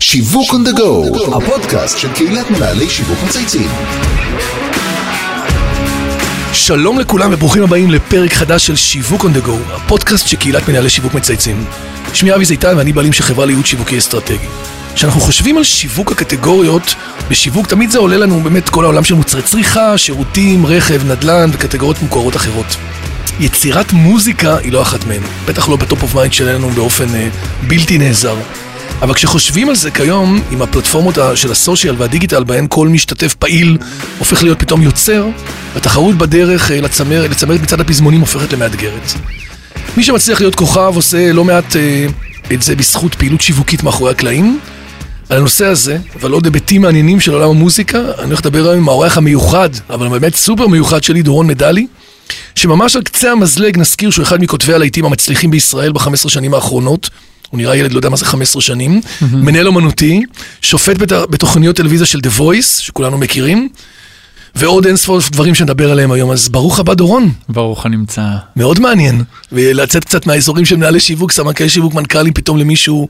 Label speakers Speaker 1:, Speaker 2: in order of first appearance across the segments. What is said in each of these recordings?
Speaker 1: שיווק on the go, הפודקאסט של קהילת מנהלי שיווק מצייצים.
Speaker 2: שלום לכולם וברוכים הבאים לפרק חדש של שיווק on the go, הפודקאסט שקהילת מנהלי שיווק מצייצים. שמי אבי זיתן ואני בעלים של חברה לייעוד שיווקי אסטרטגי. כשאנחנו חושבים על שיווק הקטגוריות, בשיווק תמיד זה עולה לנו באמת כל העולם של מוצרי צריכה, שירותים, רכב, נדל"ן וקטגוריות מוכרות אחרות. יצירת מוזיקה היא לא אחת מהן, בטח לא בטופ אוף מיינד שלנו באופן אה, בלתי נעזר. אבל כשחושבים על זה כיום, עם הפלטפורמות ה- של הסושיאל והדיגיטל, בהן כל משתתף פעיל הופך להיות פתאום יוצר, התחרות בדרך אה, לצמר, לצמרת מצד הפזמונים הופכת למאתגרת. מי שמצליח להיות כוכב עושה לא מעט אה, את זה בזכות פעילות שיווקית מאחורי הקלעים. על הנושא הזה ועל עוד היבטים מעניינים של עולם המוזיקה, אני הולך לדבר היום עם האורח המיוחד, אבל באמת סופר מיוחד שלי, דורון מדלי, שממש על קצה המזלג נזכיר שהוא אחד מכותבי הלהיטים המצליחים בישראל ב-15 שנים האחרונות. הוא נראה ילד, לא יודע מה זה 15 שנים, מנהל אומנותי, שופט בת... בתוכניות טלוויזיה של The Voice, שכולנו מכירים, ועוד אין ספור דברים שנדבר עליהם היום. אז ברוך הבא, דורון.
Speaker 3: ברוך הנמצא.
Speaker 2: מאוד מעניין, ולצאת קצת מהאזורים של מנהלי שיווק, סמנכ"לי שיווק, מנכ"לים, פתאום למישהו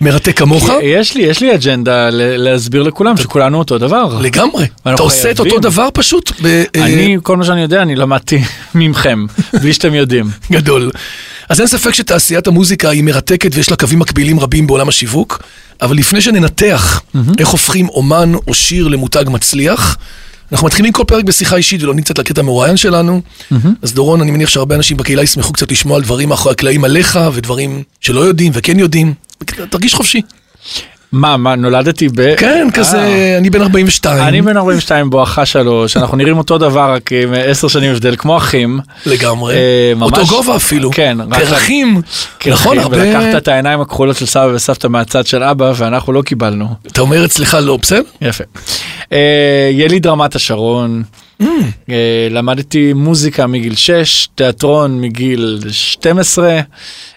Speaker 2: מרתק כמוך.
Speaker 3: יש לי, יש לי אג'נדה ל- להסביר לכולם שכולנו אותו דבר.
Speaker 2: לגמרי. אתה
Speaker 3: אנחנו
Speaker 2: עושה את
Speaker 3: חייבים.
Speaker 2: אותו דבר פשוט, ב- אה,
Speaker 3: אני, כל מה שאני יודע, אני למדתי ממכם, בלי שאתם יודעים.
Speaker 2: גדול. אז אין ספק שתעשיית המוזיקה היא מרתקת ויש לה קווים מקבילים רבים בעולם השיווק, אבל לפני שננתח איך הופכים אומן או שיר למותג מצליח, אנחנו מתחילים כל פרק בשיחה אישית ולומדים קצת לקטע המרואיין שלנו. אז דורון, אני מניח שהרבה אנשים בקהילה ישמחו קצת לשמוע על דברים מאחורי הקלעים עליך, ודברים שלא יודעים וכן יודעים. תרגיש חופשי.
Speaker 3: מה, מה, נולדתי ב...
Speaker 2: כן, כזה, אני בן 42.
Speaker 3: אה. אני בן 42 בואכה שלוש, אנחנו נראים אותו דבר, רק עם עשר שנים הבדל, כמו אחים.
Speaker 2: לגמרי.
Speaker 3: אה, ממש-
Speaker 2: אותו גובה אפילו.
Speaker 3: כן, רק- כן,
Speaker 2: קרחים. נכון, הרבה...
Speaker 3: ולקחת את העיניים הכחולות של סבא וסבתא מהצד של אבא, ואנחנו לא קיבלנו.
Speaker 2: אתה אומר אצלך לא, בסדר?
Speaker 3: יפה. אה, יליד רמת השרון,
Speaker 2: Mm.
Speaker 3: אה, למדתי מוזיקה מגיל 6, תיאטרון מגיל 12,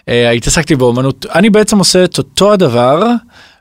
Speaker 3: אה, התעסקתי באומנות, אני בעצם עושה את אותו הדבר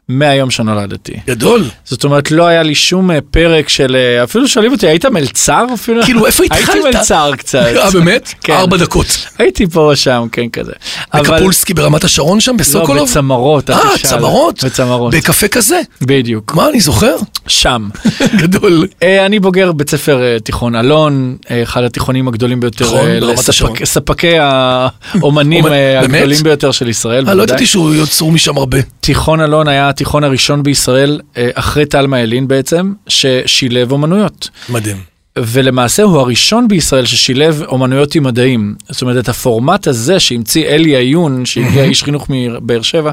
Speaker 3: מהיום שנולדתי.
Speaker 2: גדול.
Speaker 3: זאת אומרת, לא היה לי שום אה, פרק של, אה, אפילו שואלים אותי, היית מלצר אפילו?
Speaker 2: כאילו, איפה התחלת?
Speaker 3: הייתי מלצר קצת.
Speaker 2: אה, באמת?
Speaker 3: כן.
Speaker 2: ארבע דקות.
Speaker 3: הייתי פה או שם, כן, כזה. אבל-
Speaker 2: בקפולסקי ברמת השרון שם,
Speaker 3: לא,
Speaker 2: בסוקולוב?
Speaker 3: בצמרות, אל
Speaker 2: אה,
Speaker 3: תשאל.
Speaker 2: צמרות?
Speaker 3: בצמרות,
Speaker 2: בקפה כזה.
Speaker 3: בדיוק,
Speaker 2: מה, אני זוכר?
Speaker 3: שם.
Speaker 2: גדול.
Speaker 3: אה, אני בוגר בית ספר אה, תיכון אלון, אה, אחד התיכונים הגדולים ביותר,
Speaker 2: נכון,
Speaker 3: אה,
Speaker 2: ברמת השרון.
Speaker 3: לספק- ספקי האומנים
Speaker 2: אומן-
Speaker 3: אה,
Speaker 2: באמת?
Speaker 3: הגדולים ביותר של ישראל.
Speaker 2: אה, לא
Speaker 3: בוודאי.
Speaker 2: ידעתי שהוא יוצרו משם הרבה.
Speaker 3: תיכון אלון היה התיכון הראשון בישראל, אה, אחרי תלמה ילין בעצם, ששילב אומנויות.
Speaker 2: מדהים.
Speaker 3: ולמעשה הוא הראשון בישראל ששילב אומנויות עם מדעים. זאת אומרת, את הפורמט הזה שהמציא אלי עיון, שהגיע איש חינוך מבאר שבע,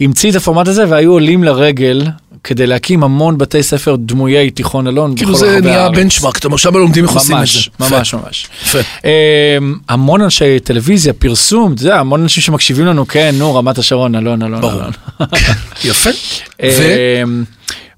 Speaker 3: המציא את הפורמט הזה והיו עולים לרגל כדי להקים המון בתי ספר דמויי תיכון אלון.
Speaker 2: כאילו
Speaker 3: בכל
Speaker 2: זה
Speaker 3: רחבי
Speaker 2: נהיה
Speaker 3: הארץ.
Speaker 2: בנצ'מארק, אתה אומר, שם לא לומדים איך עושים את זה.
Speaker 3: ממש, ממש, ממש.
Speaker 2: יפה. יפה.
Speaker 3: אמ, המון אנשי טלוויזיה, פרסום, אתה יודע, המון אנשים שמקשיבים לנו, כן, נו, רמת השרון, אלון, אלון,
Speaker 2: ברור.
Speaker 3: אלון.
Speaker 2: יפה. ו...
Speaker 3: לא, אמ,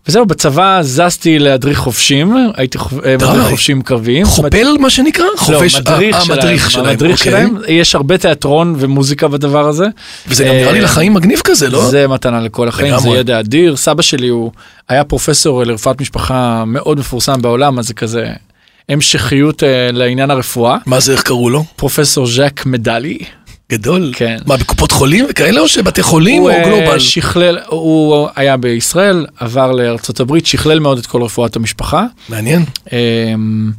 Speaker 3: וזהו, בצבא זזתי להדריך חובשים, הייתי חוב- אה, מדריך
Speaker 2: די.
Speaker 3: חובשים קרביים.
Speaker 2: חופל מה שנקרא? חובש-
Speaker 3: לא, מדריך
Speaker 2: אה, אה,
Speaker 3: שלהם,
Speaker 2: מדריך שלהם,
Speaker 3: המדריך
Speaker 2: אוקיי.
Speaker 3: שלהם, יש הרבה תיאטרון ומוזיקה בדבר הזה.
Speaker 2: וזה גם נראה לי
Speaker 3: אה,
Speaker 2: לחיים מגניב כזה, לא?
Speaker 3: זה מתנה לכל החיים, זה
Speaker 2: לגמרי.
Speaker 3: ידע אדיר. סבא שלי הוא היה פרופסור אה, לרפואת משפחה מאוד מפורסם בעולם, אז זה כזה המשכיות אה, לעניין הרפואה.
Speaker 2: מה זה, איך קראו לו?
Speaker 3: פרופסור ז'אק מדלי.
Speaker 2: גדול.
Speaker 3: כן.
Speaker 2: מה, בקופות חולים וכאלה, או שבתי חולים, או
Speaker 3: אה,
Speaker 2: גלובל?
Speaker 3: שכלל, הוא היה בישראל, עבר לארצות הברית, שכלל מאוד את כל רפואת המשפחה.
Speaker 2: מעניין.
Speaker 3: אמ,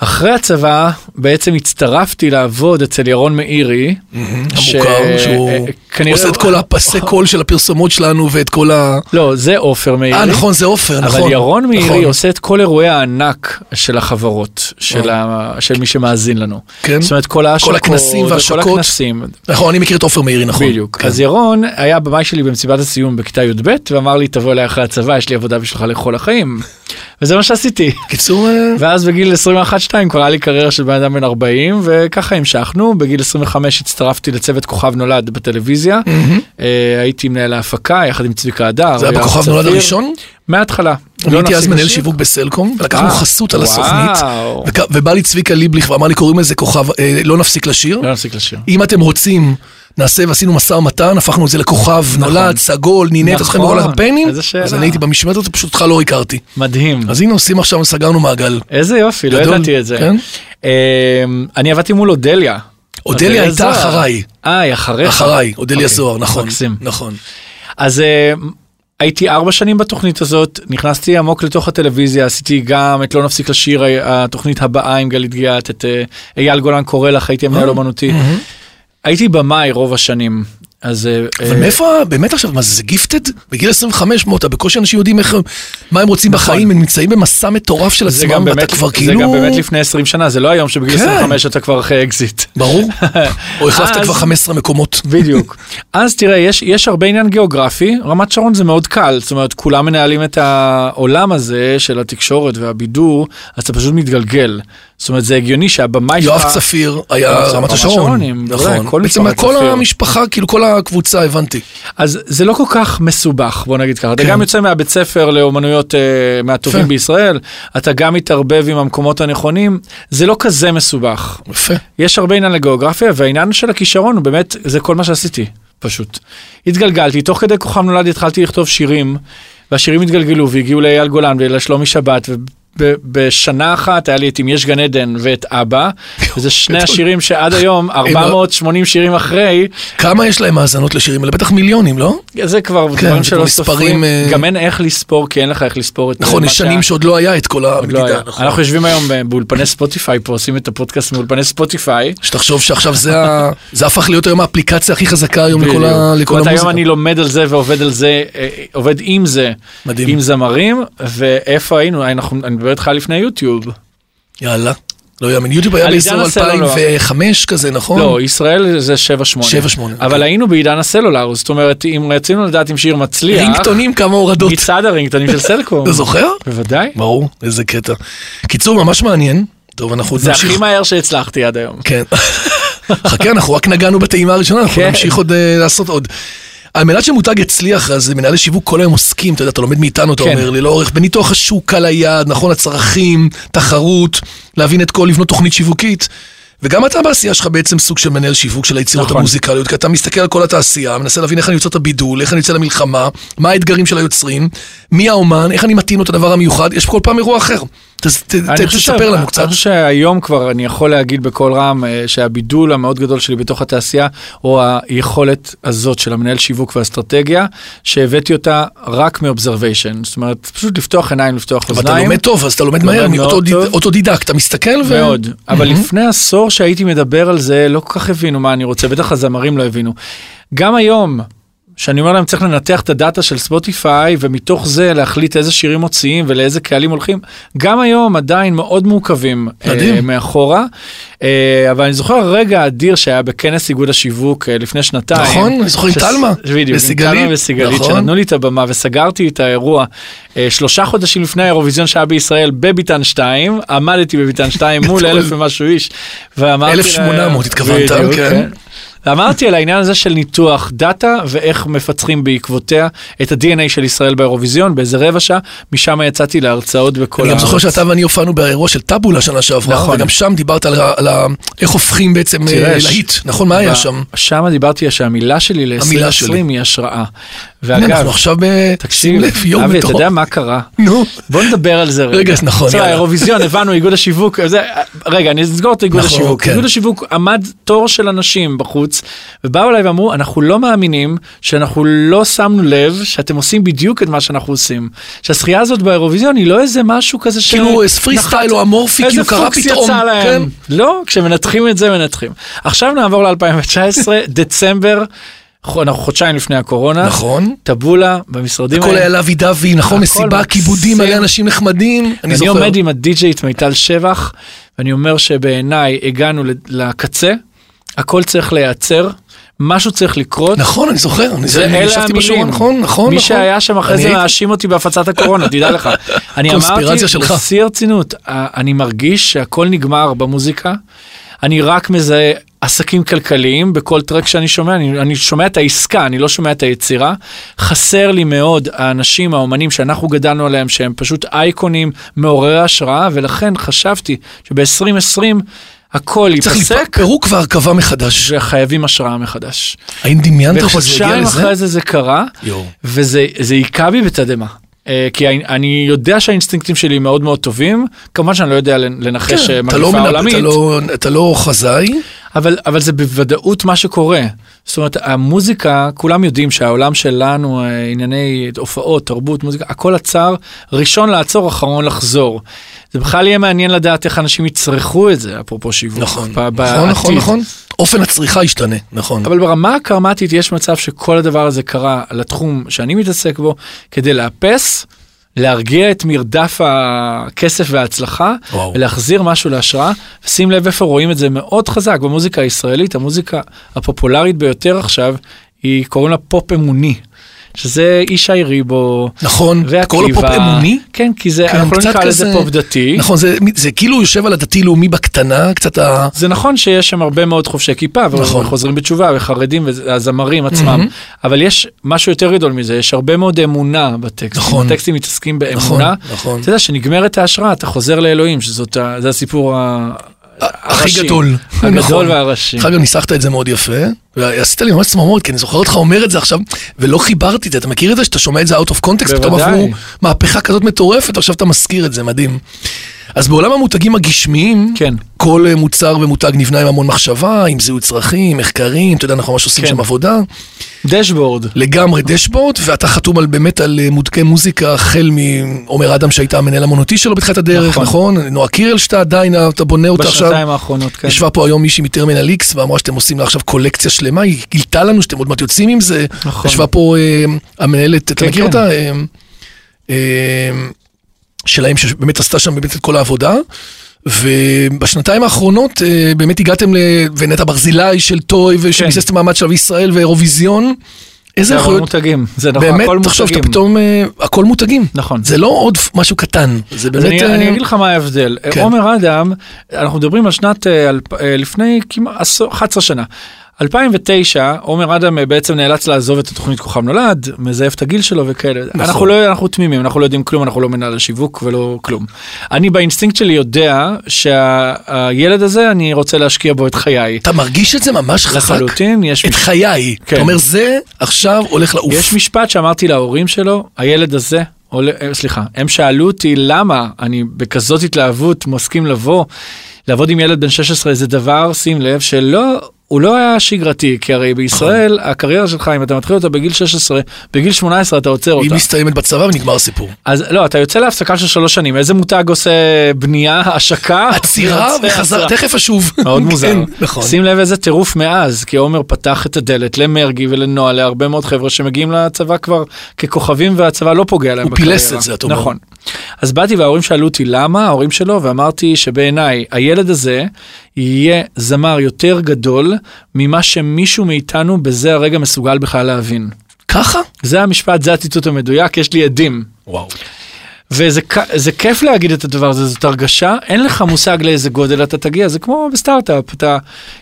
Speaker 3: אחרי הצבא בעצם הצטרפתי לעבוד אצל ירון מאירי.
Speaker 2: המוכר, שהוא
Speaker 3: אה, כנראה-
Speaker 2: עושה את כל הפסי קול של הפרסומות שלנו ואת כל ה...
Speaker 3: לא, זה עופר מאירי.
Speaker 2: אה, נכון, זה עופר, נכון.
Speaker 3: אבל ירון מאירי
Speaker 2: נכון.
Speaker 3: עושה את כל אירועי הענק של החברות, של, ה... של מי שמאזין לנו.
Speaker 2: אה. כן.
Speaker 3: זאת אומרת, כל ההשקות,
Speaker 2: הכנסים
Speaker 3: כל
Speaker 2: והשקות.
Speaker 3: הכנסים,
Speaker 2: נכון, אני מכיר את עופר מאירי, נכון.
Speaker 3: בדיוק.
Speaker 2: כן.
Speaker 3: אז ירון היה במאי שלי במסיבת הסיום בכיתה י"ב, ואמר לי, תבוא אליי אחרי הצבא, יש לי עבודה בשבילך לכל החיים. וזה מה שעשיתי.
Speaker 2: קיצור, אה,
Speaker 3: ואז בגיל 21-2 כבר היה לי קריירה של בן אדם בן 40, וככה המשכנו. בגיל 25 הצטרפתי לצוות כוכב נולד בטלוויזיה. אה, הייתי מנהל ההפקה יחד עם צביקה הדר.
Speaker 2: זה היה
Speaker 3: יואב
Speaker 2: בכוכב
Speaker 3: צפיר.
Speaker 2: נולד הראשון?
Speaker 3: מההתחלה.
Speaker 2: אני
Speaker 3: לא
Speaker 2: הייתי אז
Speaker 3: נפסיק
Speaker 2: מנהל
Speaker 3: לשיר.
Speaker 2: שיווק בסלקום, ולקחנו
Speaker 3: אה,
Speaker 2: חסות על
Speaker 3: וואו.
Speaker 2: הסוכנית, וכ- ובא לי צביקה ליבליך ואמר לי, קוראים לזה כוכב, אה, לא נפסיק לשיר.
Speaker 3: לא נפסיק לשיר.
Speaker 2: אם אתם רוצים, נעשה ועשינו משא ומתן, הפכנו את זה לכוכב, נולד, סגול, נינה, אתה זוכר מכל
Speaker 3: נכון,
Speaker 2: הקמפיינים?
Speaker 3: איזה שאלה.
Speaker 2: אז אני הייתי במשמרת, הזאת, פשוט אותך לא הכרתי.
Speaker 3: מדהים.
Speaker 2: אז הנה עושים עכשיו, סגרנו מעגל.
Speaker 3: איזה יופי, לא
Speaker 2: גדול,
Speaker 3: ידעתי את זה.
Speaker 2: כן.
Speaker 3: אמ, אני עבדתי מול אודליה.
Speaker 2: אודליה הייתה
Speaker 3: זוהר.
Speaker 2: אחריי.
Speaker 3: אה, היא אחריך.
Speaker 2: אחריי, אודליה
Speaker 3: אוקיי,
Speaker 2: זוהר, נכון.
Speaker 3: מקסים.
Speaker 2: נכון.
Speaker 3: אז אה, הייתי ארבע שנים בתוכנית הזאת, נכנסתי עמוק לתוך הטלוויזיה, עשיתי גם את לא נפסיק לשיר, ה- התוכנית הבאה עם גלית גיאת, את אה, אייל גולן קורא לך, הייתי
Speaker 2: אה,
Speaker 3: המנהל אומנותי. הייתי במאי רוב השנים, אז... אה, אה,
Speaker 2: ומאיפה, באמת עכשיו, מה זה, זה גיפטד? בגיל 25 מוטה, בקושי אנשים יודעים איך, מה הם רוצים בחיים, הם נמצאים במסע מטורף של
Speaker 3: נכון. אה, זה
Speaker 2: עצמם,
Speaker 3: גם
Speaker 2: ואתה
Speaker 3: באמת-
Speaker 2: כבר
Speaker 3: זה
Speaker 2: כאילו...
Speaker 3: גם באמת לפני 20 שנה, זה לא היום שבגיל
Speaker 2: כן.
Speaker 3: 25 אתה כבר אחרי אקזיט.
Speaker 2: ברור. או החלפת
Speaker 3: אז-
Speaker 2: כבר 15 מקומות.
Speaker 3: בדיוק. אז תראה, יש, יש הרבה עניין גיאוגרפי, רמת שרון זה מאוד קל, זאת אומרת, כולם מנהלים את העולם הזה של התקשורת והבידור, אז אתה פשוט מתגלגל. זאת אומרת, זה הגיוני שהבמאי
Speaker 2: יואב צפיר היה
Speaker 3: אה, רמת
Speaker 2: רמת
Speaker 3: השרונים,
Speaker 2: השרון.
Speaker 3: בוודאי, כל
Speaker 2: נכון. בעצם
Speaker 3: משפחת
Speaker 2: כל
Speaker 3: צפיר.
Speaker 2: המשפחה, כאילו כל הקבוצה, הבנתי.
Speaker 3: אז זה לא כל כך מסובך, בוא נגיד ככה. אתה
Speaker 2: כן.
Speaker 3: גם יוצא מהבית ספר לאומנויות אה, מהטובים
Speaker 2: יפה.
Speaker 3: בישראל, אתה גם מתערבב עם המקומות הנכונים, זה לא כזה מסובך.
Speaker 2: יפה.
Speaker 3: יש הרבה עניין לגיאוגרפיה, והעניין של הכישרון הוא באמת, זה כל מה שעשיתי, פשוט. התגלגלתי, תוך כדי כוכב נולד התחלתי לכתוב שירים, והשירים התגלגלו והגיעו לאייל גולן ולשלומי שבת, ובשנה אחת היה לי את אם יש גן עדן ואת אבא, וזה שני השירים שעד היום,
Speaker 2: לא-
Speaker 3: 480 שירים אחרי,
Speaker 2: כמה יש להם האזנות לשירים האלה? בטח מיליונים, לא?
Speaker 3: זה כבר
Speaker 2: כן,
Speaker 3: דברים
Speaker 2: זה
Speaker 3: שלא
Speaker 2: כבר מספרים,
Speaker 3: סופרים,
Speaker 2: אה,
Speaker 3: גם אין איך לספור, כי אין לך איך לספור את...
Speaker 2: נכון,
Speaker 3: מה
Speaker 2: יש
Speaker 3: שהיה.
Speaker 2: שנים שעוד לא היה את כל
Speaker 3: עוד לא היה.
Speaker 2: המדידה, נכון.
Speaker 3: אנחנו יושבים היום אה, באולפני ספוטיפיי פה, עושים את הפודקאסט מאולפני ספוטיפיי.
Speaker 2: שתחשוב שעכשיו זה ה- זה הפך להיות היום האפליקציה הכי חזקה היום לכל ה-
Speaker 3: בדיוק.
Speaker 2: לכל
Speaker 3: זאת אומרת, היום
Speaker 2: המוזיקה.
Speaker 3: אני לומד על זה ועובד על זה, אה, עובד עם זה,
Speaker 2: מדהים.
Speaker 3: עם זמרים, ואיפה היינו, אה, אנחנו- אני מדבר איתך לפני יוטיוב.
Speaker 2: יאללה. לא יאמן, יוטיוב היה
Speaker 3: על
Speaker 2: באזור
Speaker 3: עידן הסלולר.
Speaker 2: 2005 כזה, נכון?
Speaker 3: לא, ישראל זה 7-8.
Speaker 2: 7-8,
Speaker 3: אבל
Speaker 2: כן.
Speaker 3: היינו בעידן הסלולר, זאת אומרת, אם רצינו לדעת אם שיר מצליח,
Speaker 2: רינגטונים כמה הורדות.
Speaker 3: מצד הרינגטונים של סלקום.
Speaker 2: אתה לא זוכר?
Speaker 3: בוודאי.
Speaker 2: ברור, איזה קטע. קיצור, ממש מעניין. טוב, אנחנו עוד
Speaker 3: זה
Speaker 2: נמשיך.
Speaker 3: הכי מהר שהצלחתי עד היום.
Speaker 2: כן. חכה, אנחנו רק נגענו בטעימה הראשונה, אנחנו
Speaker 3: נכון. כן.
Speaker 2: נמשיך עוד אה, לעשות עוד. על מנת שמותג יצליח, אז מנהלי שיווק כל היום עוסקים, אתה יודע, אתה לומד מאיתנו, אתה
Speaker 3: כן.
Speaker 2: אומר לי, לאורך, בניתוח השוק על היעד, נכון, הצרכים, תחרות, להבין את כל, לבנות תוכנית שיווקית. וגם אתה בעשייה שלך בעצם סוג של מנהל שיווק של היצירות
Speaker 3: נכון.
Speaker 2: המוזיקליות, כי אתה מסתכל על כל התעשייה, מנסה להבין איך אני יוצא את הבידול, איך אני יוצא למלחמה, מה האתגרים של היוצרים, מי האומן, איך אני מתאים לו את הדבר המיוחד, יש כל פעם אירוע אחר. ת- ת- ת-
Speaker 3: אני חושב
Speaker 2: תספר
Speaker 3: שה-
Speaker 2: לנו קצת.
Speaker 3: אני חושב שהיום כבר אני יכול להגיד בקול רם אה, שהבידול המאוד גדול שלי בתוך התעשייה, או היכולת הזאת של המנהל שיווק ואסטרטגיה, שהבאתי אותה רק מאובזרוויישן. זאת אומרת, פשוט לפתוח עיניים, לפתוח
Speaker 2: אבל אתה
Speaker 3: אוזניים.
Speaker 2: לומד טוב, אז אתה לומד
Speaker 3: לומד
Speaker 2: מהר,
Speaker 3: מאוד טוב.
Speaker 2: אוטודידקט, אתה מסתכל ו...
Speaker 3: מאוד, אבל לפני עשור שהייתי מדבר על זה, לא כל כך הבינו מה אני רוצה, בטח הזמרים לא הבינו. גם היום, שאני אומר להם צריך לנתח את הדאטה של ספוטיפיי, ומתוך זה להחליט איזה שירים מוציאים ולאיזה קהלים הולכים, גם היום עדיין מאוד מעוכבים
Speaker 2: מדהים.
Speaker 3: אה, מאחורה. אה, אבל אני זוכר רגע אדיר שהיה בכנס איגוד השיווק אה, לפני שנתיים.
Speaker 2: נכון, אני זוכר עם
Speaker 3: שס-
Speaker 2: תלמה
Speaker 3: בדיוק, עם
Speaker 2: וסיגלית.
Speaker 3: תלמה וסיגלית,
Speaker 2: נכון.
Speaker 3: שנתנו לי את הבמה וסגרתי את האירוע. אה, שלושה חודשים לפני האירוויזיון שהיה בישראל בביתן 2, עמדתי בביתן 2 מול אלף ומשהו איש, ואמרתי... להם-
Speaker 2: 1,800 התכוונת,
Speaker 3: בדיוק,
Speaker 2: כן.
Speaker 3: ואמרתי על העניין הזה של ניתוח דאטה ואיך מפצחים בעקבותיה את ה-DNA של ישראל באירוויזיון באיזה רבע שעה, משם יצאתי להרצאות בכל
Speaker 2: אני גם זוכר שאתה ואני הופענו באירוע של טאבולה שנה שעברה,
Speaker 3: נכון.
Speaker 2: וגם שם דיברת על ה- על ה- איך הופכים בעצם
Speaker 3: תראה,
Speaker 2: אה,
Speaker 3: ש-
Speaker 2: להיט, נכון? מה היה שם?
Speaker 3: שם דיברתי שהמילה שלי
Speaker 2: המילה
Speaker 3: ל-2020
Speaker 2: שלי.
Speaker 3: היא השראה.
Speaker 2: הנה,
Speaker 3: ואגב,
Speaker 2: אנחנו עכשיו ב...
Speaker 3: תקשיב,
Speaker 2: שים לב, יום
Speaker 3: אבי, אתה
Speaker 2: מטורף.
Speaker 3: יודע מה קרה?
Speaker 2: נו,
Speaker 3: בוא נדבר על זה רגע.
Speaker 2: רגע, נכון,
Speaker 3: בסדר,
Speaker 2: יאללה.
Speaker 3: האירוויזיון, הבנו, איגוד השיווק, זה, רגע, אני אסגור את איגוד
Speaker 2: נכון,
Speaker 3: השיווק.
Speaker 2: כן.
Speaker 3: איגוד השיווק עמד תור של אנשים בחוץ, ובאו אליי ואמרו, אנחנו לא מאמינים שאנחנו לא שמנו לב שאתם עושים בדיוק את מה שאנחנו עושים. שהזכייה הזאת באירוויזיון היא לא איזה משהו כזה ש...
Speaker 2: כאילו פרי סטייל או אמורפי,
Speaker 3: איזה
Speaker 2: כאילו קרה
Speaker 3: פוקס
Speaker 2: פתאום.
Speaker 3: יצא
Speaker 2: כן.
Speaker 3: להם. לא, כשמנתחים את זה מנתחים. עכשיו נעבור ל-2019, דצמבר, אנחנו חודשיים לפני הקורונה.
Speaker 2: נכון.
Speaker 3: טבולה במשרדים
Speaker 2: הכל היה לוי דווי, נכון,
Speaker 3: אה? הכל
Speaker 2: מסיבה,
Speaker 3: מקסים.
Speaker 2: כיבודים, מלא אנשים נחמדים, אני
Speaker 3: אני
Speaker 2: זוכר.
Speaker 3: עומד עם הדי-ג'ייט מיטל שבח, ואני אומר שבעיניי הגענו ל- לקצה, הכל צריך להיעצר, משהו צריך לקרות.
Speaker 2: נכון, אני זוכר, אני
Speaker 3: זה
Speaker 2: זוכר, אני
Speaker 3: אלה
Speaker 2: ישבתי
Speaker 3: המילים.
Speaker 2: בשעון, נכון, נכון, נכון.
Speaker 3: מי שהיה שם אחרי
Speaker 2: אני
Speaker 3: זה
Speaker 2: הייתי.
Speaker 3: מאשים אותי בהפצת הקורונה, תדע לך. אני אמרתי,
Speaker 2: קונספירציה שלך.
Speaker 3: בשיא הרצינות, ה- אני מרגיש שהכל נגמר במוזיקה, אני רק מזהה עסקים כלכליים בכל טרק שאני שומע, אני, אני שומע את העסקה, אני לא שומע את היצירה. חסר לי מאוד האנשים, האומנים שאנחנו גדלנו עליהם, שהם פשוט אייקונים מעוררי השראה, ולכן חשבתי שב-2020 הכל
Speaker 2: צריך
Speaker 3: ייפסק.
Speaker 2: פירוק והרכבה מחדש.
Speaker 3: שחייבים השראה מחדש.
Speaker 2: האם דמיינת שזה יגיע
Speaker 3: וחודשיים
Speaker 2: לזה?
Speaker 3: אחרי זה זה קרה,
Speaker 2: יואו.
Speaker 3: וזה זה היכה בי בתדהמה. אה, כי אני- אני יודע שהאינסטינקטים שלי מאוד מאוד טובים, כמובן שאני לא יודע לנ- לנחש
Speaker 2: כן,
Speaker 3: אה,
Speaker 2: אתה לא
Speaker 3: מגפה
Speaker 2: מנ-
Speaker 3: עולמית,
Speaker 2: אתה לא- אתה לא חזאי,
Speaker 3: אבל, אבל זה בוודאות מה שקורה. זאת אומרת, המוזיקה, כולם יודעים שהעולם שלנו, אה, ענייני הופעות, תרבות, מוזיקה, הכל עצר, ראשון לעצור, אחרון לחזור. זה בכלל יהיה מעניין לדעת איך אנשים יצרכו את זה, אפרופו שיווק.
Speaker 2: נכון,
Speaker 3: ב-
Speaker 2: נכון, נכון,
Speaker 3: בעתיד.
Speaker 2: נכון. אופן הצריכה ישתנה, נכון.
Speaker 3: Mm-hmm. אבל ברמה הקרמטית יש מצב שכל הדבר הזה קרה לתחום שאני מתעסק בו כדי לאפס, להרגיע את מרדף הכסף וההצלחה,
Speaker 2: וואו.
Speaker 3: ולהחזיר משהו להשראה. שים לב איפה רואים את זה מאוד חזק במוזיקה הישראלית, המוזיקה הפופולרית ביותר עכשיו, היא קוראים לה פופ אמוני. שזה ישי ריבו,
Speaker 2: נכון,
Speaker 3: ועקיבא.
Speaker 2: קוראים לו פופ אמוני?
Speaker 3: כן, כי זה,
Speaker 2: כן,
Speaker 3: אנחנו לא
Speaker 2: קצת
Speaker 3: נקרא לזה
Speaker 2: כזה-
Speaker 3: פופ דתי.
Speaker 2: נכון, זה, זה כאילו יושב על הדתי-לאומי בקטנה, קצת ה...
Speaker 3: זה נכון שיש שם הרבה מאוד חובשי כיפה,
Speaker 2: נכון.
Speaker 3: נכון. וחוזרים בתשובה, וחרדים, והזמרים עצמם, אבל יש משהו יותר גדול מזה, יש הרבה מאוד אמונה בטקסט.
Speaker 2: נכון.
Speaker 3: הטקסטים מתעסקים
Speaker 2: נכון,
Speaker 3: באמונה.
Speaker 2: נכון.
Speaker 3: אתה יודע, שנגמרת ההשראה, אתה חוזר לאלוהים, שזאת ה- זה הסיפור ה...
Speaker 2: הכי
Speaker 3: הראשי.
Speaker 2: גדול.
Speaker 3: הגדול
Speaker 2: נכון.
Speaker 3: והראשי.
Speaker 2: אחר כך ניסחת את זה מאוד יפה, ועשית לי ממש צמרמורת, כי אני זוכר אותך אומר את זה עכשיו, ולא חיברתי את זה. אתה מכיר את זה שאתה שומע את זה out of context, פתאום
Speaker 3: בוודאי.
Speaker 2: עברו מהפכה כזאת מטורפת, עכשיו אתה מזכיר את זה, מדהים. אז בעולם המותגים הגשמיים,
Speaker 3: כן.
Speaker 2: כל אה, מוצר ומותג נבנה עם המון מחשבה, עם זיהוי צרכים, מחקרים, אתה יודע, אנחנו ממש עושים
Speaker 3: כן.
Speaker 2: שם עבודה.
Speaker 3: דשבורד.
Speaker 2: לגמרי דשבורד, ואתה חתום על באמת על אה, מותגי מוזיקה, החל מעומר אדם שהייתה המנהל המונותי שלו בתחילת הדרך, נכון?
Speaker 3: נכון.
Speaker 2: נועה קירל שאתה עדיין, אתה בונה אותה עכשיו.
Speaker 3: בשנתיים האחרונות, כן.
Speaker 2: ישבה פה היום מישהי מטרמינל איקס ואמרה שאתם עושים לה עכשיו קולקציה שלמה, היא גילתה לנו שאתם עוד מעט יוצאים עם זה.
Speaker 3: נכון.
Speaker 2: ישבה פה אה, המנהלת, אתה
Speaker 3: כן,
Speaker 2: מכיר
Speaker 3: כן.
Speaker 2: אותה? אה, אה, שלהם שבאמת עשתה שם באמת את כל העבודה. ובשנתיים האחרונות אה, באמת הגעתם ל... ונטע ברזילי של טוי
Speaker 3: כן.
Speaker 2: ושביסס את המעמד של ישראל ואירוויזיון. איזה
Speaker 3: זה הכל
Speaker 2: יכולות...
Speaker 3: מותגים. זה נכון,
Speaker 2: באמת,
Speaker 3: כן, הכל
Speaker 2: תחשוב שאתה
Speaker 3: מותגים.
Speaker 2: פתאום... אה, הכל מותגים.
Speaker 3: נכון.
Speaker 2: זה לא עוד משהו קטן. זה
Speaker 3: אז
Speaker 2: באמת...
Speaker 3: אני,
Speaker 2: אה,
Speaker 3: אני אגיד לך מה ההבדל.
Speaker 2: כן.
Speaker 3: כן. עומר אדם, אנחנו מדברים על שנת, אה, אלפ, אה, לפני כמעט עשור- 11 שנה. 2009, עומר אדם אה, בעצם נאלץ לעזוב את התוכנית כוכב נולד, מזייף את הגיל שלו וכאלה.
Speaker 2: נכון.
Speaker 3: נכון. אנחנו לא, אנחנו תמימים, אנחנו לא יודעים כלום, אנחנו לא מנהל השיווק ולא כלום. אני באינסטינקט שלי יודע שהילד הזה, אני רוצה להשקיע בו את חיי.
Speaker 2: אתה מרגיש את זה ממש חזק?
Speaker 3: לחלוטין, יש
Speaker 2: את חיי.
Speaker 3: כן.
Speaker 2: אתה אומר, זה עכשיו הולך לעוף.
Speaker 3: יש משפט שאמרתי להורים שלו, הילד הזה, עולה, אה, סליחה, הם שאלו אותי למה אני בכזאת התלהבות מסכים לבוא, לעבוד עם ילד בן 16 זה דבר, שים לב, שלא... הוא לא היה שגרתי, כי
Speaker 2: נכון.
Speaker 3: הרי בישראל הקריירה שלך, אם אתה מתחיל אותה בגיל 16, בגיל 18 אתה עוצר
Speaker 2: היא
Speaker 3: אותה.
Speaker 2: מסתיימת בצבא ונגמר הסיפור.
Speaker 3: אז לא, אתה יוצא להפסקה של שלוש שנים, איזה מותג עושה בנייה, השקה?
Speaker 2: עצירה
Speaker 3: יוצא
Speaker 2: וחזרה,
Speaker 3: עצירה.
Speaker 2: תכף אשוב.
Speaker 3: מאוד מוזר.
Speaker 2: כן, נכון.
Speaker 3: שים לב איזה טירוף מאז, כי עומר פתח את הדלת למרגי ולנועה, להרבה מאוד חבר'ה שמגיעים לצבא כבר ככוכבים והצבא לא פוגע להם
Speaker 2: הוא
Speaker 3: בקריירה.
Speaker 2: פילס את זה, אתה אומר.
Speaker 3: נכון. אז באתי וההורים שאלו אותי למה, ההורים שלו, ואמרתי שבעיניי הילד הזה יהיה זמר יותר גדול ממה שמישהו מאיתנו בזה הרגע מסוגל בכלל להבין.
Speaker 2: ככה?
Speaker 3: זה המשפט, זה הציטוט המדויק, יש לי עדים.
Speaker 2: וואו.
Speaker 3: וזה כ- זה כיף להגיד את הדבר הזה, זאת הרגשה, אין לך מושג לאיזה גודל אתה תגיע, זה כמו בסטארט-אפ, אתה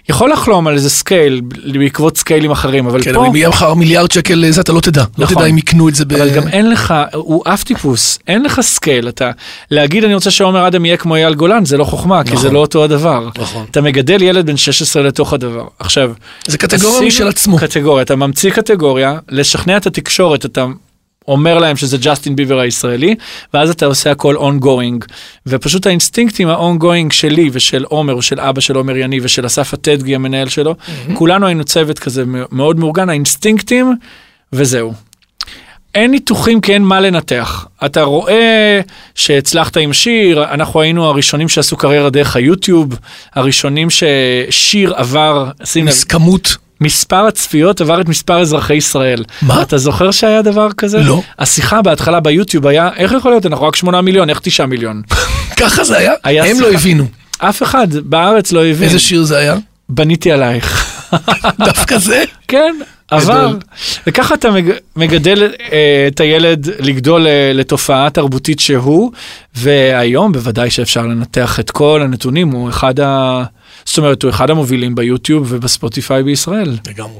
Speaker 3: יכול לחלום על איזה סקייל בעקבות סקיילים אחרים, אבל
Speaker 2: כן,
Speaker 3: פה,
Speaker 2: אבל אם יהיה לך מיליארד שקל, זה אתה לא תדע. לא
Speaker 3: נכון.
Speaker 2: תדע אם יקנו את זה ב...
Speaker 3: אבל גם אין לך, הוא אף טיפוס, אין לך סקייל, אתה, להגיד אני רוצה שעומר אדם יהיה כמו אייל גולן, זה לא חוכמה, כי זה
Speaker 2: נכון.
Speaker 3: לא אותו הדבר.
Speaker 2: נכון.
Speaker 3: אתה מגדל ילד בן 16 לתוך הדבר. עכשיו,
Speaker 2: זה קטגוריה
Speaker 3: עשינו
Speaker 2: משל עצמו.
Speaker 3: קטגוריה, אתה ממציא קטגוריה, לשכנע את התקשורת, אתה אומר להם שזה ג'סטין ביבר הישראלי, ואז אתה עושה הכל ongoing. ופשוט האינסטינקטים ה-ongoing שלי ושל עומר, ושל אבא של עומר יניב, ושל אסף אטדגי המנהל שלו,
Speaker 2: Mm-hmm.
Speaker 3: כולנו היינו צוות כזה מ- מאוד מאורגן, האינסטינקטים, וזהו. אין ניתוחים כי אין מה לנתח. אתה רואה שהצלחת עם שיר, אנחנו היינו הראשונים שעשו קריירה דרך היוטיוב, הראשונים ששיר עבר, שים לב,
Speaker 2: אז כמות.
Speaker 3: מספר הצפיות עבר את מספר אזרחי ישראל.
Speaker 2: מה?
Speaker 3: אתה זוכר שהיה דבר כזה?
Speaker 2: לא.
Speaker 3: השיחה בהתחלה ביוטיוב היה, איך יכול להיות, אנחנו רק 8 מיליון, איך 9 מיליון?
Speaker 2: ככה זה היה?
Speaker 3: היה כן.
Speaker 2: הם
Speaker 3: שיחה.
Speaker 2: לא הבינו.
Speaker 3: אף אחד בארץ לא הבין.
Speaker 2: איזה שיר זה היה?
Speaker 3: בניתי עלייך.
Speaker 2: דווקא זה?
Speaker 3: כן, עבר.
Speaker 2: גדול.
Speaker 3: וככה אתה מג... מגדל אה, את הילד לגדול אה, לתופעה תרבותית שהוא, והיום בוודאי שאפשר לנתח את כל הנתונים, הוא אחד ה... זאת אומרת, הוא אחד המובילים ביוטיוב ובספוטיפיי בישראל.
Speaker 2: לגמרי.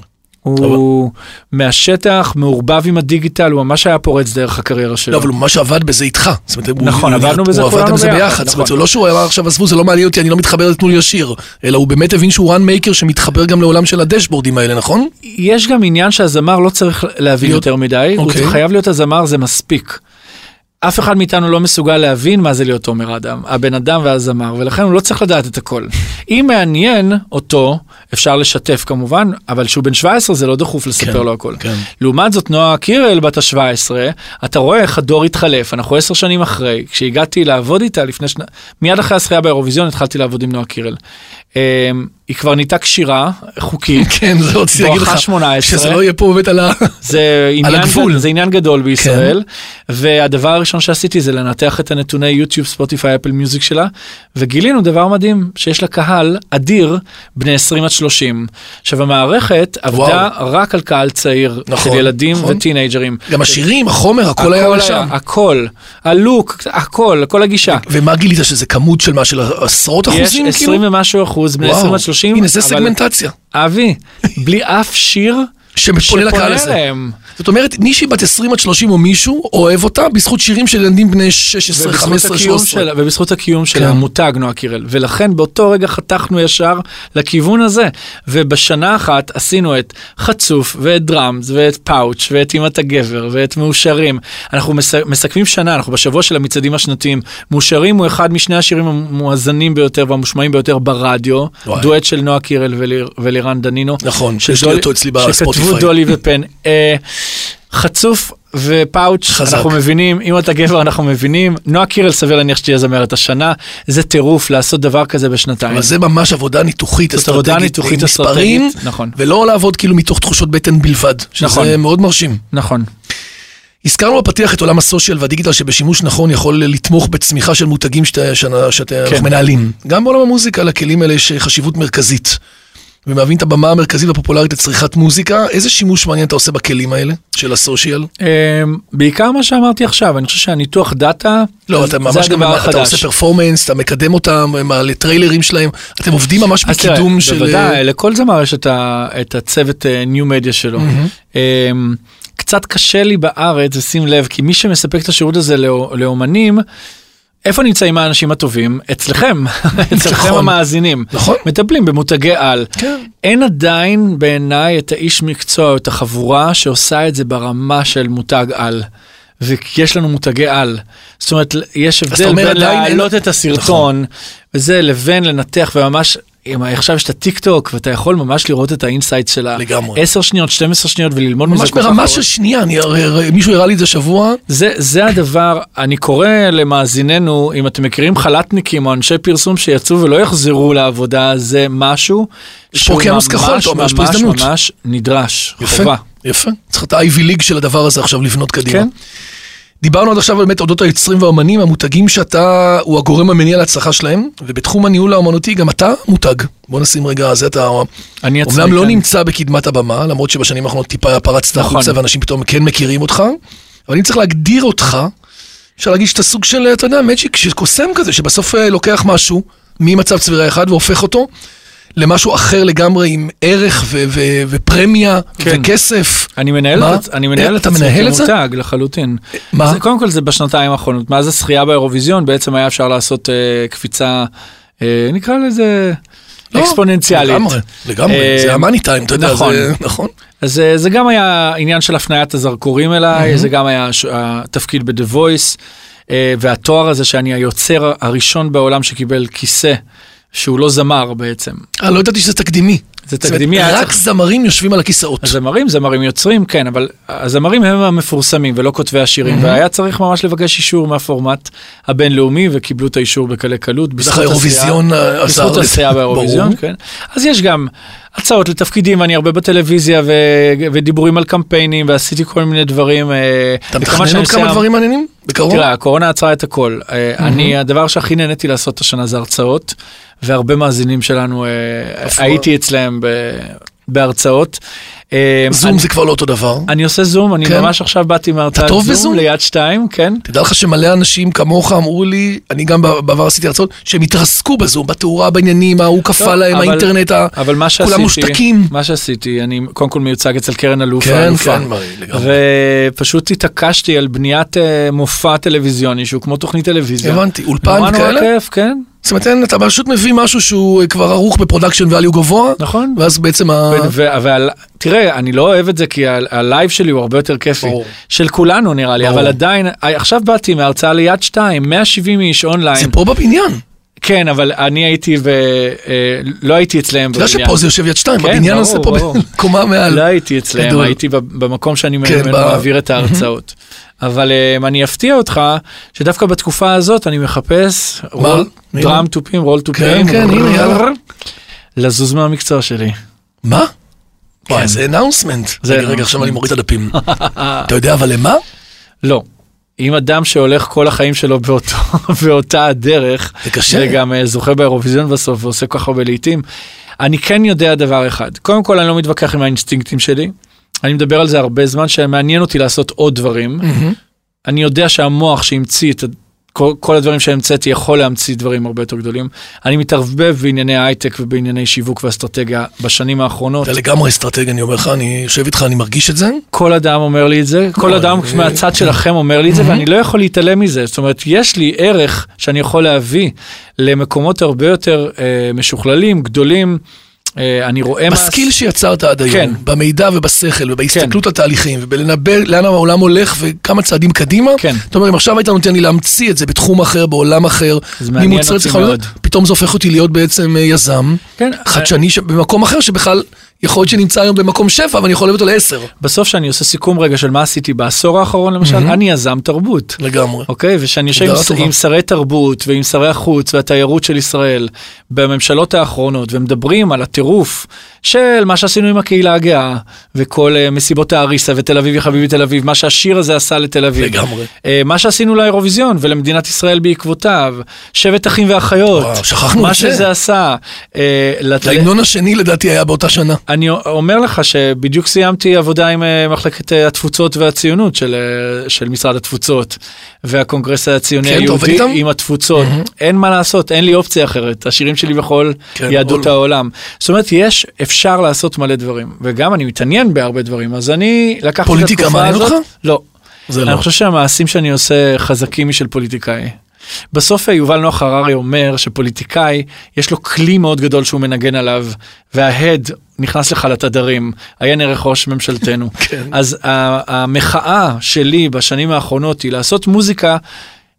Speaker 3: הוא מהשטח, מעורבב עם הדיגיטל, הוא ממש היה פורץ דרך הקריירה שלו.
Speaker 2: לא, אבל הוא ממש עבד בזה איתך. זאת אומרת, הוא-
Speaker 3: נכון,
Speaker 2: הוא-
Speaker 3: עבדנו בזה
Speaker 2: הוא עבד
Speaker 3: כולנו
Speaker 2: עם זה
Speaker 3: ביחד,
Speaker 2: ביחד. זאת אומרת, זה
Speaker 3: נכון.
Speaker 2: לא שהוא אמר עכשיו, עזבו, זה לא מעניין אותי, אני לא מתחבר לתנו לי לשיר. אלא הוא באמת הבין שהוא run maker שמתחבר גם לעולם של הדשבורדים האלה, נכון?
Speaker 3: יש גם עניין שהזמר לא צריך להבין
Speaker 2: להיות-
Speaker 3: יותר מדי, הוא
Speaker 2: אוקיי.
Speaker 3: חייב להיות הזמר, זה מספיק. אף אחד מאיתנו לא מסוגל להבין מה זה להיות עומר אדם, הבן אדם והזמר, ולכן הוא לא צריך לדעת את הכל. אם מעניין אותו, אפשר לשתף כמובן, אבל כשהוא בן 17 זה לא דחוף לספר
Speaker 2: כן,
Speaker 3: לו הכל.
Speaker 2: כן.
Speaker 3: לעומת זאת, נועה קירל בת ה-17, אתה רואה איך הדור התחלף, אנחנו עשר שנים אחרי, כשהגעתי לעבוד איתה לפני שנה, מיד אחרי הזכייה באירוויזיון התחלתי לעבוד עם נועה קירל. אמ, היא כבר נהייתה כשירה, חוקית,
Speaker 2: כן, זה רציתי להגיד
Speaker 3: בואכה
Speaker 2: לך,
Speaker 3: 18.
Speaker 2: שזה לא יהיה פה באמת על ה...
Speaker 3: זה עניין,
Speaker 2: הגבול.
Speaker 3: זה עניין גדול בישראל, כן. והדבר הראשון שעשיתי זה לנתח את הנתוני יוטיוב, ספוטיפיי, אפל מיוזיק שלה, וגילינו דבר מדהים, שיש לה קהל אדיר בני 20 עד 30. עכשיו המערכת עבדה רק על קהל צעיר,
Speaker 2: נכון,
Speaker 3: של ילדים
Speaker 2: נכון.
Speaker 3: וטינג'רים.
Speaker 2: גם השירים, החומר, הכל היה על שם.
Speaker 3: הכל, הלוק, הכל, כל הגישה.
Speaker 2: ומה גילית, שזה כמות של מה, של עשרות
Speaker 3: יש
Speaker 2: אחוזים? כאילו?
Speaker 3: 20 ומשהו אחוז, בני 20 עד 30,
Speaker 2: הנה, זה
Speaker 3: אבל-
Speaker 2: סגמנטציה.
Speaker 3: אבי, בלי אף שיר
Speaker 2: שפונה לקהל
Speaker 3: שפונה
Speaker 2: הזה.
Speaker 3: אליהם.
Speaker 2: זאת אומרת, מישהי בת 20 עד 30 או מישהו אוהב אותה בזכות שירים של ילדים בני 16,
Speaker 3: ובזכות
Speaker 2: 15,
Speaker 3: הקיום
Speaker 2: 13.
Speaker 3: שלה- ובזכות הקיום של
Speaker 2: כן.
Speaker 3: המותג נועה קירל. ולכן באותו רגע חתכנו ישר לכיוון הזה. ובשנה אחת עשינו את חצוף ואת דראמס ואת פאוץ' ואת אמא הגבר ואת מאושרים. אנחנו מס- מסכמים שנה, אנחנו בשבוע של המצעדים השנתיים. מאושרים הוא אחד משני השירים המואזנים ביותר והמושמעים ביותר ברדיו.
Speaker 2: וואי.
Speaker 3: דואט של נועה קירל וליר- ולירן דנינו.
Speaker 2: נכון,
Speaker 3: של
Speaker 2: יש לי
Speaker 3: דולי-
Speaker 2: אותו אצלי
Speaker 3: שכתבו
Speaker 2: בספוטיפיי.
Speaker 3: דולי ופן. אה, חצוף ופאוץ',
Speaker 2: חזק.
Speaker 3: אנחנו מבינים, אם אתה גבר אנחנו מבינים, נועה קירל סביר להניח שתהיה זמרת השנה, זה טירוף לעשות דבר כזה בשנתיים.
Speaker 2: אבל זה ממש עבודה ניתוחית,
Speaker 3: זאת עבודה
Speaker 2: אסטרטגית,
Speaker 3: ניתוחית
Speaker 2: עם מספרים,
Speaker 3: אסטרטגית, נכון.
Speaker 2: ולא לעבוד כאילו מתוך תחושות בטן בלבד, שזה
Speaker 3: נכון.
Speaker 2: מאוד מרשים.
Speaker 3: נכון,
Speaker 2: הזכרנו בפתיח את עולם הסושיאל והדיגיטל שבשימוש נכון יכול לתמוך בצמיחה של מותגים שאתה- שאתה- שאתה-
Speaker 3: כן.
Speaker 2: שאתם מנהלים. גם בעולם המוזיקה לכלים האלה יש אה, חשיבות מרכזית. ומהווים את הבמה המרכזית והפופולרית לצריכת מוזיקה, איזה שימוש מעניין אתה עושה בכלים האלה של הסושיאל?
Speaker 3: אמ, בעיקר מה שאמרתי עכשיו, אני חושב שהניתוח דאטה,
Speaker 2: לא, אתה
Speaker 3: זה
Speaker 2: ממש גם,
Speaker 3: הדבר
Speaker 2: אתה
Speaker 3: החדש.
Speaker 2: עושה פרפורמנס, אתה מקדם אותם, הם מעלה טריילרים שלהם, אתם עובדים ממש
Speaker 3: אז תראה,
Speaker 2: בקידום של... אה,
Speaker 3: בוודאי, לא, לכל זמר יש את, ה, את הצוות ניו מדיה שלו. Mm-hmm. קצת קשה לי בארץ, ושים לב, כי מי שמספק את השירות הזה לא, לאומנים, איפה נמצאים האנשים הטובים? אצלכם, אצלכם
Speaker 2: נכון.
Speaker 3: המאזינים.
Speaker 2: נכון.
Speaker 3: מטפלים במותגי על.
Speaker 2: כן.
Speaker 3: אין עדיין בעיניי את האיש מקצוע או את החבורה שעושה את זה ברמה של מותג על. ויש לנו מותגי על. זאת אומרת, יש
Speaker 2: אתה
Speaker 3: הבדל
Speaker 2: אומר
Speaker 3: בין
Speaker 2: עדיין אין-
Speaker 3: להעלות את הסרטון, וזה לבין לנתח וממש, אם עכשיו יש את הטיק טוק ואתה יכול ממש לראות את האינסייט של
Speaker 2: לגמרי.
Speaker 3: ה-10 שניות, 12 שניות וללמוד מזה
Speaker 2: ממש
Speaker 3: כל כך
Speaker 2: ברמה
Speaker 3: הרבה.
Speaker 2: של שנייה, אני, הרי- מישהו הראה לי את זה השבוע,
Speaker 3: זה, זה הדבר, אני קורא למאזיננו, אם אתם מכירים חל"תניקים או אנשי פרסום שיצאו ולא יחזרו לעבודה, זה משהו
Speaker 2: יש פה אוקיינוס כחול, אתה אומר, יש פה
Speaker 3: ממש
Speaker 2: הזדמנות.
Speaker 3: ממש נדרש,
Speaker 2: יפה,
Speaker 3: חובה.
Speaker 2: יפה. צריך את ה-IV ליג של הדבר הזה עכשיו לבנות קדימה.
Speaker 3: כן.
Speaker 2: דיברנו עד עכשיו באמת אודות היוצרים והאמנים, המותגים שאתה הוא הגורם המניע להצלחה שלהם, ובתחום הניהול האמנותי גם אתה מותג. בוא נשים רגע, זה אתה...
Speaker 3: אני עצמי כן.
Speaker 2: אומנם לא
Speaker 3: כאן.
Speaker 2: נמצא בקדמת הבמה, למרות שבשנים האחרונות טיפה פרצת
Speaker 3: נכון.
Speaker 2: החוצה ואנשים פתאום כן מכירים אותך, אבל אם צריך להגדיר אותך, אפשר להגיד שאתה סוג של, אתה יודע, מאצ'יק שקוסם כזה, שבסוף אה, לוקח משהו ממצב צבירה אחד והופך אותו למשהו אחר לגמרי עם ערך ו- ו- ופרמיה
Speaker 3: כן.
Speaker 2: וכסף.
Speaker 3: אני מנהל
Speaker 2: מה? אה,
Speaker 3: את עצ- אני מנהל את
Speaker 2: אתה
Speaker 3: עצמי
Speaker 2: מנהל את זה?
Speaker 3: כמותג לחלוטין.
Speaker 2: מה?
Speaker 3: זה, קודם כל זה בשנתיים האחרונות, מאז הזכייה באירוויזיון בעצם היה אפשר לעשות אה, קפיצה, אה, נקרא לזה
Speaker 2: לא,
Speaker 3: אקספוננציאלית.
Speaker 2: לגמרי, לגמרי,
Speaker 3: אה,
Speaker 2: זה המאני טיים, אתה יודע,
Speaker 3: נכון.
Speaker 2: זה- נכון.
Speaker 3: אז אה, זה גם היה עניין של הפניית הזרקורים אליי, זה גם היה ש- התפקיד ב-The Voice, אה, והתואר הזה שאני היוצר הראשון בעולם שקיבל כיסא, שהוא לא זמר בעצם.
Speaker 2: אה, לא ידעתי שזה תקדימי.
Speaker 3: זה
Speaker 2: זאת אומרת,
Speaker 3: תקדימי, היה
Speaker 2: רק
Speaker 3: צריך-
Speaker 2: זמרים יושבים על הכיסאות.
Speaker 3: הזמרים, זמרים יוצרים, כן, אבל הזמרים הם המפורסמים ולא כותבי השירים, והיה צריך ממש לבקש אישור מהפורמט הבינלאומי, וקיבלו את האישור בקלי קלות.
Speaker 2: בטח
Speaker 3: בזכות
Speaker 2: האירוויזיון
Speaker 3: הזכייה-
Speaker 2: עזר
Speaker 3: בזכות
Speaker 2: לזה.
Speaker 3: הזכייה באירוויזיון,
Speaker 2: אה, ברור.
Speaker 3: כן. אז יש גם הצעות לתפקידים, אני הרבה בטלוויזיה, ו- ודיבורים על קמפיינים, ועשיתי כל מיני דברים. אה,
Speaker 2: אתה
Speaker 3: וכמה
Speaker 2: מתכנן
Speaker 3: שאני
Speaker 2: עוד כמה
Speaker 3: עושה-
Speaker 2: דברים מעניינים? בקרוב?
Speaker 3: תראה, הקורונה עצרה את הכל. אה, אני, הדבר שהכי נהניתי לעשות השנה זה הרצאות, והרבה מאזינים שלנו, אה, הייתי אצלם ב- בהרצאות. אה,
Speaker 2: זום
Speaker 3: אני-
Speaker 2: זה כבר לא אותו דבר.
Speaker 3: אני עושה זום, אני
Speaker 2: כן.
Speaker 3: ממש עכשיו באתי מהרצאת
Speaker 2: טוב
Speaker 3: זום
Speaker 2: בזום?
Speaker 3: ליד שתיים, כן.
Speaker 2: תדע לך שמלא אנשים כמוך אמרו לי, אני גם בעבר עשיתי הרצאות, שהם התרסקו בזום, בתאורה, בעניינים, ההוא
Speaker 3: לא,
Speaker 2: קפא להם,
Speaker 3: אבל-
Speaker 2: האינטרנט, ה-
Speaker 3: אבל מה שעשיתי,
Speaker 2: כולם מושתקים.
Speaker 3: מה שעשיתי, אני קודם כל מיוצג אצל קרן אלוף
Speaker 2: כן,
Speaker 3: האלופה.
Speaker 2: כן, מרי, לגמרי.
Speaker 3: ופשוט התעקשתי על בניית אה, מופע טלוויזיוני שהוא כמו תוכנית טלוויזיה.
Speaker 2: הבנתי, אולפן
Speaker 3: נורא נורא
Speaker 2: כאלה?
Speaker 3: כיף, כן.
Speaker 2: זאת אומרת, אין, אתה פשוט מביא משהו שהוא אה, כבר ערוך בפרודקשן value גבוה,
Speaker 3: נכון.
Speaker 2: ואז בעצם ה...
Speaker 3: ו- ו- אבל תראה, אני לא אוהב את זה כי ה- הלייב שלי הוא הרבה יותר כיפי.
Speaker 2: ברור.
Speaker 3: של כולנו נראה לי,
Speaker 2: ברור.
Speaker 3: אבל עדיין, אה, עכשיו באתי מההרצאה ליד שתיים, 170 איש
Speaker 2: זה
Speaker 3: אונליין.
Speaker 2: פה בבניין.
Speaker 3: כן, אבל אני הייתי ו... אה, לא הייתי אצלם
Speaker 2: אתה יודע שפה זה יושב יד שתיים,
Speaker 3: כן,
Speaker 2: בבניין
Speaker 3: ברור,
Speaker 2: הזה פה
Speaker 3: ברור.
Speaker 2: בקומה מעל.
Speaker 3: לא הייתי אצלם,
Speaker 2: גדול.
Speaker 3: הייתי ב- במקום שאני
Speaker 2: כן,
Speaker 3: ממנו
Speaker 2: ב-
Speaker 3: מעביר את ההרצאות. אבל אמ, אני אפתיע אותך שדווקא בתקופה הזאת אני מחפש רול-
Speaker 2: הנה.
Speaker 3: דראם תופים, רול תופים,
Speaker 2: כן, כן, הנה, יאללה.
Speaker 3: לזוז מהמקצוע שלי.
Speaker 2: מה? וואי, זה אנאונסמנט.
Speaker 3: כן. זה
Speaker 2: רגע, רגע, עכשיו אני מוריד את הדפים. אתה יודע אבל למה?
Speaker 3: לא. אם אדם שהולך כל החיים שלו באותו, באותה הדרך,
Speaker 2: זה קשה.
Speaker 3: וגם אה, זוכה באירוויזיון בסוף ועושה כל כך הרבה לעיתים, אני כן יודע דבר אחד, קודם כל אני לא מתווכח עם האינסטינקטים שלי, אני מדבר על זה הרבה זמן, שמעניין אותי לעשות עוד דברים, אני יודע שהמוח שהמציא את ה- כל, כל הדברים שהמצאתי יכול להמציא דברים הרבה יותר גדולים. אני מתערבב בענייני הייטק ובענייני שיווק ואסטרטגיה בשנים האחרונות.
Speaker 2: אתה לגמרי אסטרטג, אני אומר לך, אני יושב איתך, אני מרגיש את זה.
Speaker 3: כל אדם אומר לי את זה, כל
Speaker 2: לא,
Speaker 3: אדם
Speaker 2: אני-
Speaker 3: מהצד שלכם אומר לי את זה, ואני לא יכול להתעלם מזה. זאת אומרת, יש לי ערך שאני יכול להביא למקומות הרבה יותר אה, משוכללים, גדולים. אה, אני רואה מה...
Speaker 2: בסקיל שיצרת עד היום,
Speaker 3: כן.
Speaker 2: במידע ובשכל ובהסתכלות על תהליכים ובלנבא לאן העולם הולך וכמה צעדים קדימה,
Speaker 3: כן.
Speaker 2: אתה אומר, אם עכשיו היית נותן לי להמציא את זה בתחום אחר, בעולם אחר,
Speaker 3: זה מעניין
Speaker 2: ממוצרי
Speaker 3: אותי
Speaker 2: צריכה-
Speaker 3: מאוד.
Speaker 2: פתאום זה הופך אותי להיות בעצם אה, יזם,
Speaker 3: כן,
Speaker 2: חדשני, ש- במקום אחר שבכלל יכול להיות שנמצא היום במקום שבע ואני יכול להביא אותו לעשר.
Speaker 3: אה, בסוף שאני עושה סיכום רגע של מה עשיתי בעשור האחרון למשל, אני יזם תרבות.
Speaker 2: לגמרי.
Speaker 3: אוקיי, ושאני יושב עם,
Speaker 2: הגדרה טובה.
Speaker 3: עם שרי תרבות ועם שרי החוץ והתיירות של ישראל בממשלות האחרונות, ומדברים על הטירוף של מה שעשינו עם הקהילה הגאה, וכל uh, מסיבות האריסה ותל אביב יא חביבי תל אביב, מה שהשיר הזה עשה לתל אביב.
Speaker 2: לגמרי.
Speaker 3: Uh, מה שעשינו לאירוויזיון ולמדינת ישראל בעקבותיו, שבט אחים ואחיות,
Speaker 2: וואו, שכחנו
Speaker 3: מה
Speaker 2: את זה.
Speaker 3: שזה עשה. Uh, לת...
Speaker 2: ההמנון השני לדעתי היה באותה שנה.
Speaker 3: אני אומר לך שבדיוק סיימתי עבודה עם אה, מחלקת אה, התפוצות והציונות של, אה, של משרד התפוצות והקונגרס הציוני
Speaker 2: כן, אתה עובד
Speaker 3: היהודי
Speaker 2: איתם?
Speaker 3: עם התפוצות. אין מה לעשות, אין לי אופציה אחרת. השירים שלי בכל
Speaker 2: כן,
Speaker 3: יהדות
Speaker 2: all-
Speaker 3: העולם. זאת אומרת, יש, אפשר לעשות מלא דברים. וגם אני מתעניין בהרבה דברים, אז אני לקחתי את
Speaker 2: פוליטיקה
Speaker 3: התקופה
Speaker 2: מעניין
Speaker 3: הזאת.
Speaker 2: אותך?
Speaker 3: לא.
Speaker 2: זה
Speaker 3: אני
Speaker 2: לא.
Speaker 3: חושב שהמעשים שאני עושה חזקים משל פוליטיקאי. בסוף אה, יובל נוח הררי אומר שפוליטיקאי יש לו כלי מאוד גדול שהוא מנגן עליו וההד נכנס לך לתדרים, עיין ערך ראש ממשלתנו.
Speaker 2: כן.
Speaker 3: אז ה- המחאה שלי בשנים האחרונות היא לעשות מוזיקה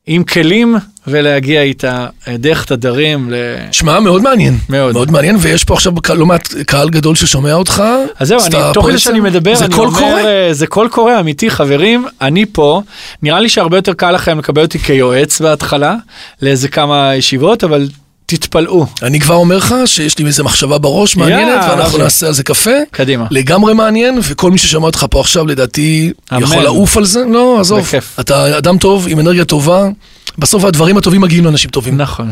Speaker 3: עם כלים ולהגיע איתה אה, דרך תדרים. ל...
Speaker 2: שמע, מאוד מעניין.
Speaker 3: מאוד.
Speaker 2: מאוד מעניין, ויש פה עכשיו קהל- לא מעט קהל גדול ששומע אותך.
Speaker 3: אז זהו,
Speaker 2: אז
Speaker 3: אני,
Speaker 2: אתה
Speaker 3: תוך
Speaker 2: פה
Speaker 3: כדי
Speaker 2: בעצם-
Speaker 3: שאני מדבר,
Speaker 2: זה
Speaker 3: אני
Speaker 2: קול
Speaker 3: אומר,
Speaker 2: קורא?
Speaker 3: אה, זה קול קורא אמיתי, חברים, אני פה, נראה לי שהרבה יותר קל לכם לקבל אותי כיועץ בהתחלה, לאיזה כמה ישיבות, אבל תתפלאו,
Speaker 2: אני כבר אומר לך שיש לי איזה מחשבה בראש מעניינת,
Speaker 3: יאה,
Speaker 2: ואנחנו
Speaker 3: אחי.
Speaker 2: נעשה על זה קפה.
Speaker 3: קדימה.
Speaker 2: לגמרי מעניין, וכל מי ששמע אותך פה עכשיו לדעתי
Speaker 3: אמן.
Speaker 2: יכול לעוף על זה. לא, עזוב.
Speaker 3: בכיף.
Speaker 2: אתה אדם טוב, עם אנרגיה טובה. בסוף הדברים הטובים מגיעים לאנשים טובים.
Speaker 3: נכון.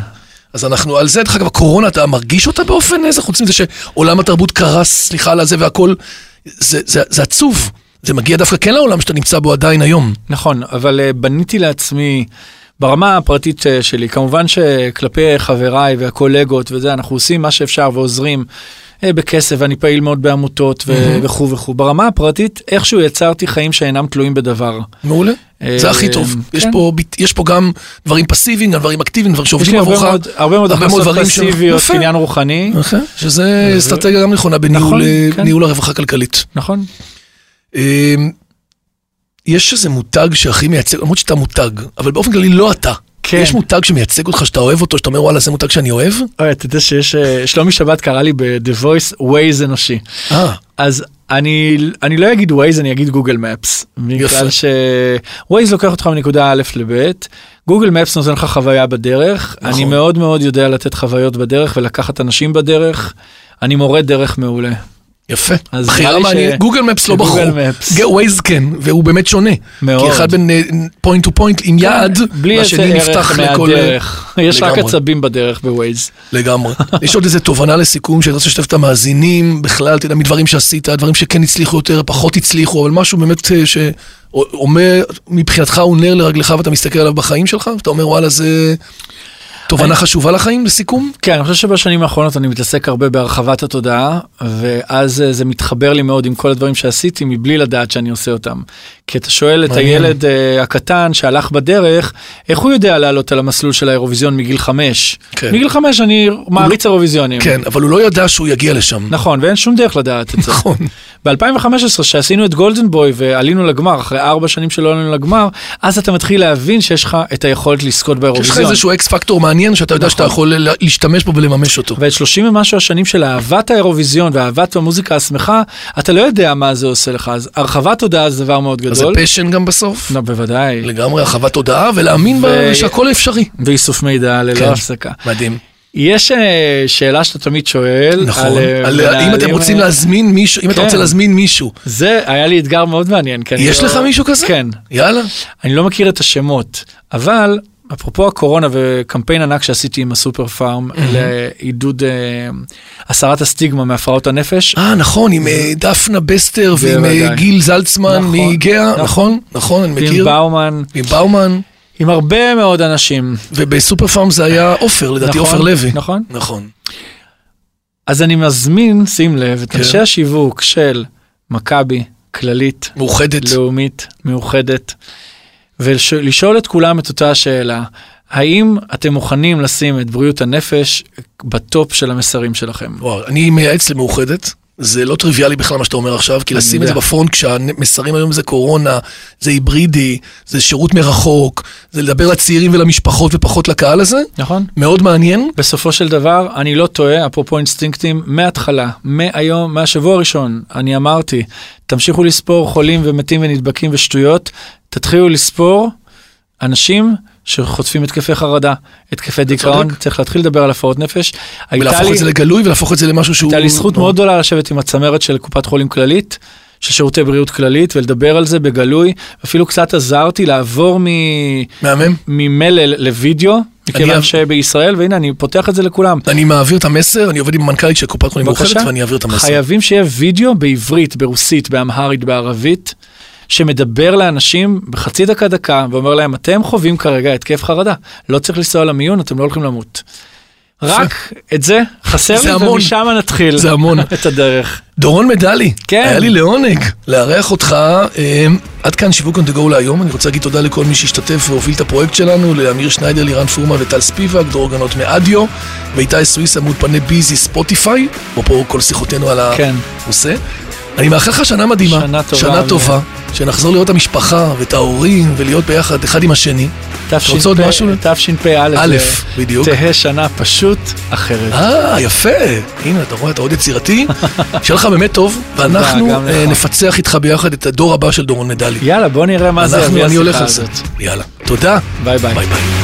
Speaker 2: אז אנחנו על זה, דרך אגב, הקורונה, אתה מרגיש אותה באופן איזה, חוץ מזה שעולם התרבות קרס, סליחה על הזה והכל, זה, זה, זה עצוב. זה מגיע דווקא כן לעולם שאתה נמצא בו עדיין היום.
Speaker 3: נכון, אבל אה, בניתי לעצמי, ברמה הפרטית אה, שלי, כמובן שכלפי חבריי והקולגות וזה, אנחנו עושים מה שאפשר ועוזרים אה, בכסף, ואני פעיל מאוד בעמותות ו- וכו' וכו'. ברמה הפרטית, איכשהו יצרתי חיים שאינם תלויים בדבר.
Speaker 2: מעולה.
Speaker 3: אה,
Speaker 2: זה הכי טוב.
Speaker 3: כן.
Speaker 2: יש, פה, ביט- יש פה גם דברים פסיביים, גם דברים אקטיביים, דברים
Speaker 3: יש לי
Speaker 2: שעובדים
Speaker 3: הרבה
Speaker 2: עבורך.
Speaker 3: מאוד, הרבה מאוד הכנסות
Speaker 2: דברים ש-
Speaker 3: פסיביות,
Speaker 2: יפה.
Speaker 3: קניין רוחני.
Speaker 2: יפה, אוקיי. שזה אסטרטגיה גם נכונה בניהול
Speaker 3: אה, נכון,
Speaker 2: אה,
Speaker 3: כן.
Speaker 2: ניהול הרווחה הכלכלית.
Speaker 3: נכון.
Speaker 2: אה, יש איזה מותג שהכי מייצג, למרות שאתה מותג, אבל באופן כללי לא אתה.
Speaker 3: כן.
Speaker 2: יש מותג שמייצג אותך, שאתה אוהב אותו, שאתה אומר וואלה זה מותג שאני אוהב?
Speaker 3: אוי, אתה יודע שיש, אה, שלומי שבת קרא לי ב-The Voice Waze אנושי.
Speaker 2: אה,
Speaker 3: אז אני, אני לא אגיד Waze, אני אגיד גוגל מפס. בגלל ש... Waze לוקח אותך מנקודה א' לב', גוגל מפס נותן לך חוויה בדרך,
Speaker 2: נכון.
Speaker 3: אני מאוד מאוד יודע לתת חוויות בדרך ולקחת אנשים בדרך, אני מורה דרך מעולה.
Speaker 2: יפה.
Speaker 3: אז נראה
Speaker 2: בחירה
Speaker 3: לי
Speaker 2: מעניינת.
Speaker 3: ש-
Speaker 2: גוגל מפס לא בחרו.
Speaker 3: גוגל מפס.
Speaker 2: ווייז כן, והוא באמת שונה.
Speaker 3: מאוד. כן,
Speaker 2: כי אחד בין אה, פוינט טו פוינט עם יעד,
Speaker 3: בלי איזה
Speaker 2: והשני
Speaker 3: ערך
Speaker 2: נפתח לכל... אה,
Speaker 3: מהדרך, יש רק
Speaker 2: לגמרי.
Speaker 3: עצבים בדרך בווייז.
Speaker 2: לגמרי. יש עוד איזה תובנה לסיכום שאני לא רוצה לשתף את המאזינים, בכלל, אתה יודע, מדברים שעשית, דברים שכן הצליחו יותר, פחות הצליחו, אבל משהו באמת אה, שאומר, מבחינתך הוא נר לרגלך ואתה מסתכל עליו בחיים שלך, ואתה אומר, וואלה, זה תובנה חשובה לחיים, לסיכום?
Speaker 3: כן, אני חושב שבשנים האחרונות אני מתעסק הרבה בהרחבת התודעה, ואז אה, זה מתחבר לי מאוד עם כל הדברים שעשיתי מבלי לדעת שאני עושה אותם. כי אתה שואל את
Speaker 2: מעניין.
Speaker 3: הילד אה, הקטן שהלך בדרך, איך הוא יודע לעלות על המסלול של האירוויזיון מגיל חמש?
Speaker 2: כן.
Speaker 3: מגיל חמש אני מעריץ אירוויזיונים.
Speaker 2: כן, אבל הוא לא ידע שהוא יגיע לשם.
Speaker 3: נכון, ואין שום דרך לדעת את זה.
Speaker 2: נכון.
Speaker 3: ב-2015, שעשינו את גולדנבוי ועלינו לגמר, אחרי ארבע שנים שלא עלינו לגמר, אז אתה מתחיל להבין שיש לך את היכולת לזכות
Speaker 2: יש לך
Speaker 3: באירוויזיון.
Speaker 2: איזשהו אקס פקטור מעניין שאתה
Speaker 3: נכון.
Speaker 2: יודע שאתה יכול לה- להשתמש בו ולממש אותו.
Speaker 3: ואת 30 ומשהו השנים של אהבת האירוויזיון ואהבת המוזיקה השמחה, אתה לא יודע מה זה עושה לך, אז הרחבת תודעה זה דבר מאוד
Speaker 2: אז זה
Speaker 3: גדול.
Speaker 2: פשן גם בסוף.
Speaker 3: נו, בוודאי.
Speaker 2: לגמרי הרחבת תודעה ולהאמין ב-
Speaker 3: ו-
Speaker 2: שהכל אפשרי.
Speaker 3: ואיסוף מידע
Speaker 2: כן.
Speaker 3: ללא הפסקה.
Speaker 2: מדהים.
Speaker 3: יש אה, שאלה שאתה תמיד שואל.
Speaker 2: נכון.
Speaker 3: אה,
Speaker 2: על- אם אתם
Speaker 3: מנהלים,
Speaker 2: רוצים
Speaker 3: אה,
Speaker 2: להזמין מישהו, אם אתה
Speaker 3: כן.
Speaker 2: רוצה להזמין מישהו,
Speaker 3: זה היה לי אתגר מאוד מעניין. כי אני
Speaker 2: יש
Speaker 3: לא-
Speaker 2: לך מישהו כזה?
Speaker 3: כן.
Speaker 2: יאללה.
Speaker 3: אני לא מכיר את השמות, אבל אפרופו הקורונה וקמפיין ענק שעשיתי עם הסופר פארם לעידוד אה, הסרת הסטיגמה מהפרעות הנפש.
Speaker 2: אה, נכון, עם אה, דפנה בסטר ועם אה,
Speaker 3: בוודאי.
Speaker 2: גיל זלצמן
Speaker 3: נכון,
Speaker 2: מגאה,
Speaker 3: נכון.
Speaker 2: נכון? נכון, אני
Speaker 3: עם
Speaker 2: מכיר.
Speaker 3: באומן,
Speaker 2: עם באומן,
Speaker 3: עם הרבה מאוד אנשים.
Speaker 2: ובסופר פארם זה היה עופר, לדעתי
Speaker 3: נכון,
Speaker 2: עופר לוי.
Speaker 3: נכון.
Speaker 2: נכון.
Speaker 3: אז אני מזמין, שים לב, את
Speaker 2: כן.
Speaker 3: אנשי השיווק של מכבי, כללית,
Speaker 2: מאוחדת.
Speaker 3: לאומית, מאוחדת, ולשאול את כולם את אותה השאלה, האם אתם מוכנים לשים את בריאות הנפש בטופ של המסרים שלכם?
Speaker 2: וואו, אני מייעץ למאוחדת. זה לא טריוויאלי בכלל מה שאתה אומר עכשיו, כי
Speaker 3: אני
Speaker 2: לשים את זה
Speaker 3: יודע.
Speaker 2: בפרונט כשהמסרים היום זה קורונה, זה היברידי, זה שירות מרחוק, זה לדבר לצעירים ולמשפחות ופחות לקהל הזה,
Speaker 3: נכון?
Speaker 2: מאוד מעניין.
Speaker 3: בסופו של דבר, אני לא טועה, אפרופו אינסטינקטים, מההתחלה, מהיום, מהשבוע הראשון, אני אמרתי, תמשיכו לספור חולים ומתים ונדבקים ושטויות, תתחילו לספור אנשים שחוטפים התקפי חרדה, התקפי דיכאון,
Speaker 2: צודק.
Speaker 3: צריך להתחיל לדבר על הפרעות נפש. הייתה
Speaker 2: ולהפוך
Speaker 3: לי-
Speaker 2: את זה לגלוי ולהפוך את זה למשהו שהוא...
Speaker 3: הייתה לי זכות
Speaker 2: נו,
Speaker 3: מאוד גדולה לשבת עם הצמרת של קופת חולים כללית, של שירותי בריאות כללית, ולדבר על זה בגלוי, אפילו קצת עזרתי לעבור מ...
Speaker 2: מהמם.
Speaker 3: ממלל לוידאו, מכיוון
Speaker 2: אב-
Speaker 3: שבישראל, והנה אני פותח את זה לכולם.
Speaker 2: אני מעביר את המסר, אני עובד עם המנכ"לית של קופת חולים מאוחדת
Speaker 3: בבקשה.
Speaker 2: ואני אעביר את המסר.
Speaker 3: חייבים שיהיה וידאו בעברית, ברוסית, באמהרית, בערבית, שמדבר לאנשים בחצי דקה דקה ואומר להם, אתם חווים כרגע התקף חרדה, לא צריך לנסוע למיון, אתם לא הולכים למות. רק את זה חסר
Speaker 2: זה
Speaker 3: לי,
Speaker 2: המון.
Speaker 3: ומשם נתחיל
Speaker 2: זה המון.
Speaker 3: את הדרך.
Speaker 2: דורון מדלי,
Speaker 3: כן.
Speaker 2: היה לי לעונג לארח אותך. אה, עד כאן שיווק אונדה גו להיום, אני רוצה להגיד תודה לכל מי שהשתתף והוביל את הפרויקט שלנו, לאמיר שניידר, לירן פורמה וטל ספיבק, דרור גנות מאדיו, ואיתי סוויסה מולפני ביזי ספוטיפיי, אפרופו כל שיחותינו על
Speaker 3: כן.
Speaker 2: הנושא. אני מאחל לך שנה מדהימה,
Speaker 3: שנה טובה,
Speaker 2: שנה
Speaker 3: אבי.
Speaker 2: טובה, שנחזור לראות את המשפחה ואת ההורים ולהיות ביחד אחד עם השני.
Speaker 3: תשפ"א,
Speaker 2: רוצה עוד משהו?
Speaker 3: תשפ"א,
Speaker 2: א',
Speaker 3: זה
Speaker 2: בדיוק.
Speaker 3: תהא שנה פשוט אחרת.
Speaker 2: אה, יפה. הנה, אתה רואה, אתה עוד יצירתי. שיהיה לך באמת טוב, ואנחנו
Speaker 3: גם
Speaker 2: אה,
Speaker 3: לך.
Speaker 2: נפצח איתך ביחד את הדור הבא של דורון מדלי.
Speaker 3: יאללה, בוא נראה מה זה
Speaker 2: אנחנו,
Speaker 3: יביא
Speaker 2: אני
Speaker 3: השיחה
Speaker 2: הולך על זה.
Speaker 3: הזאת.
Speaker 2: יאללה. תודה.
Speaker 3: ביי ביי.
Speaker 2: ביי ביי.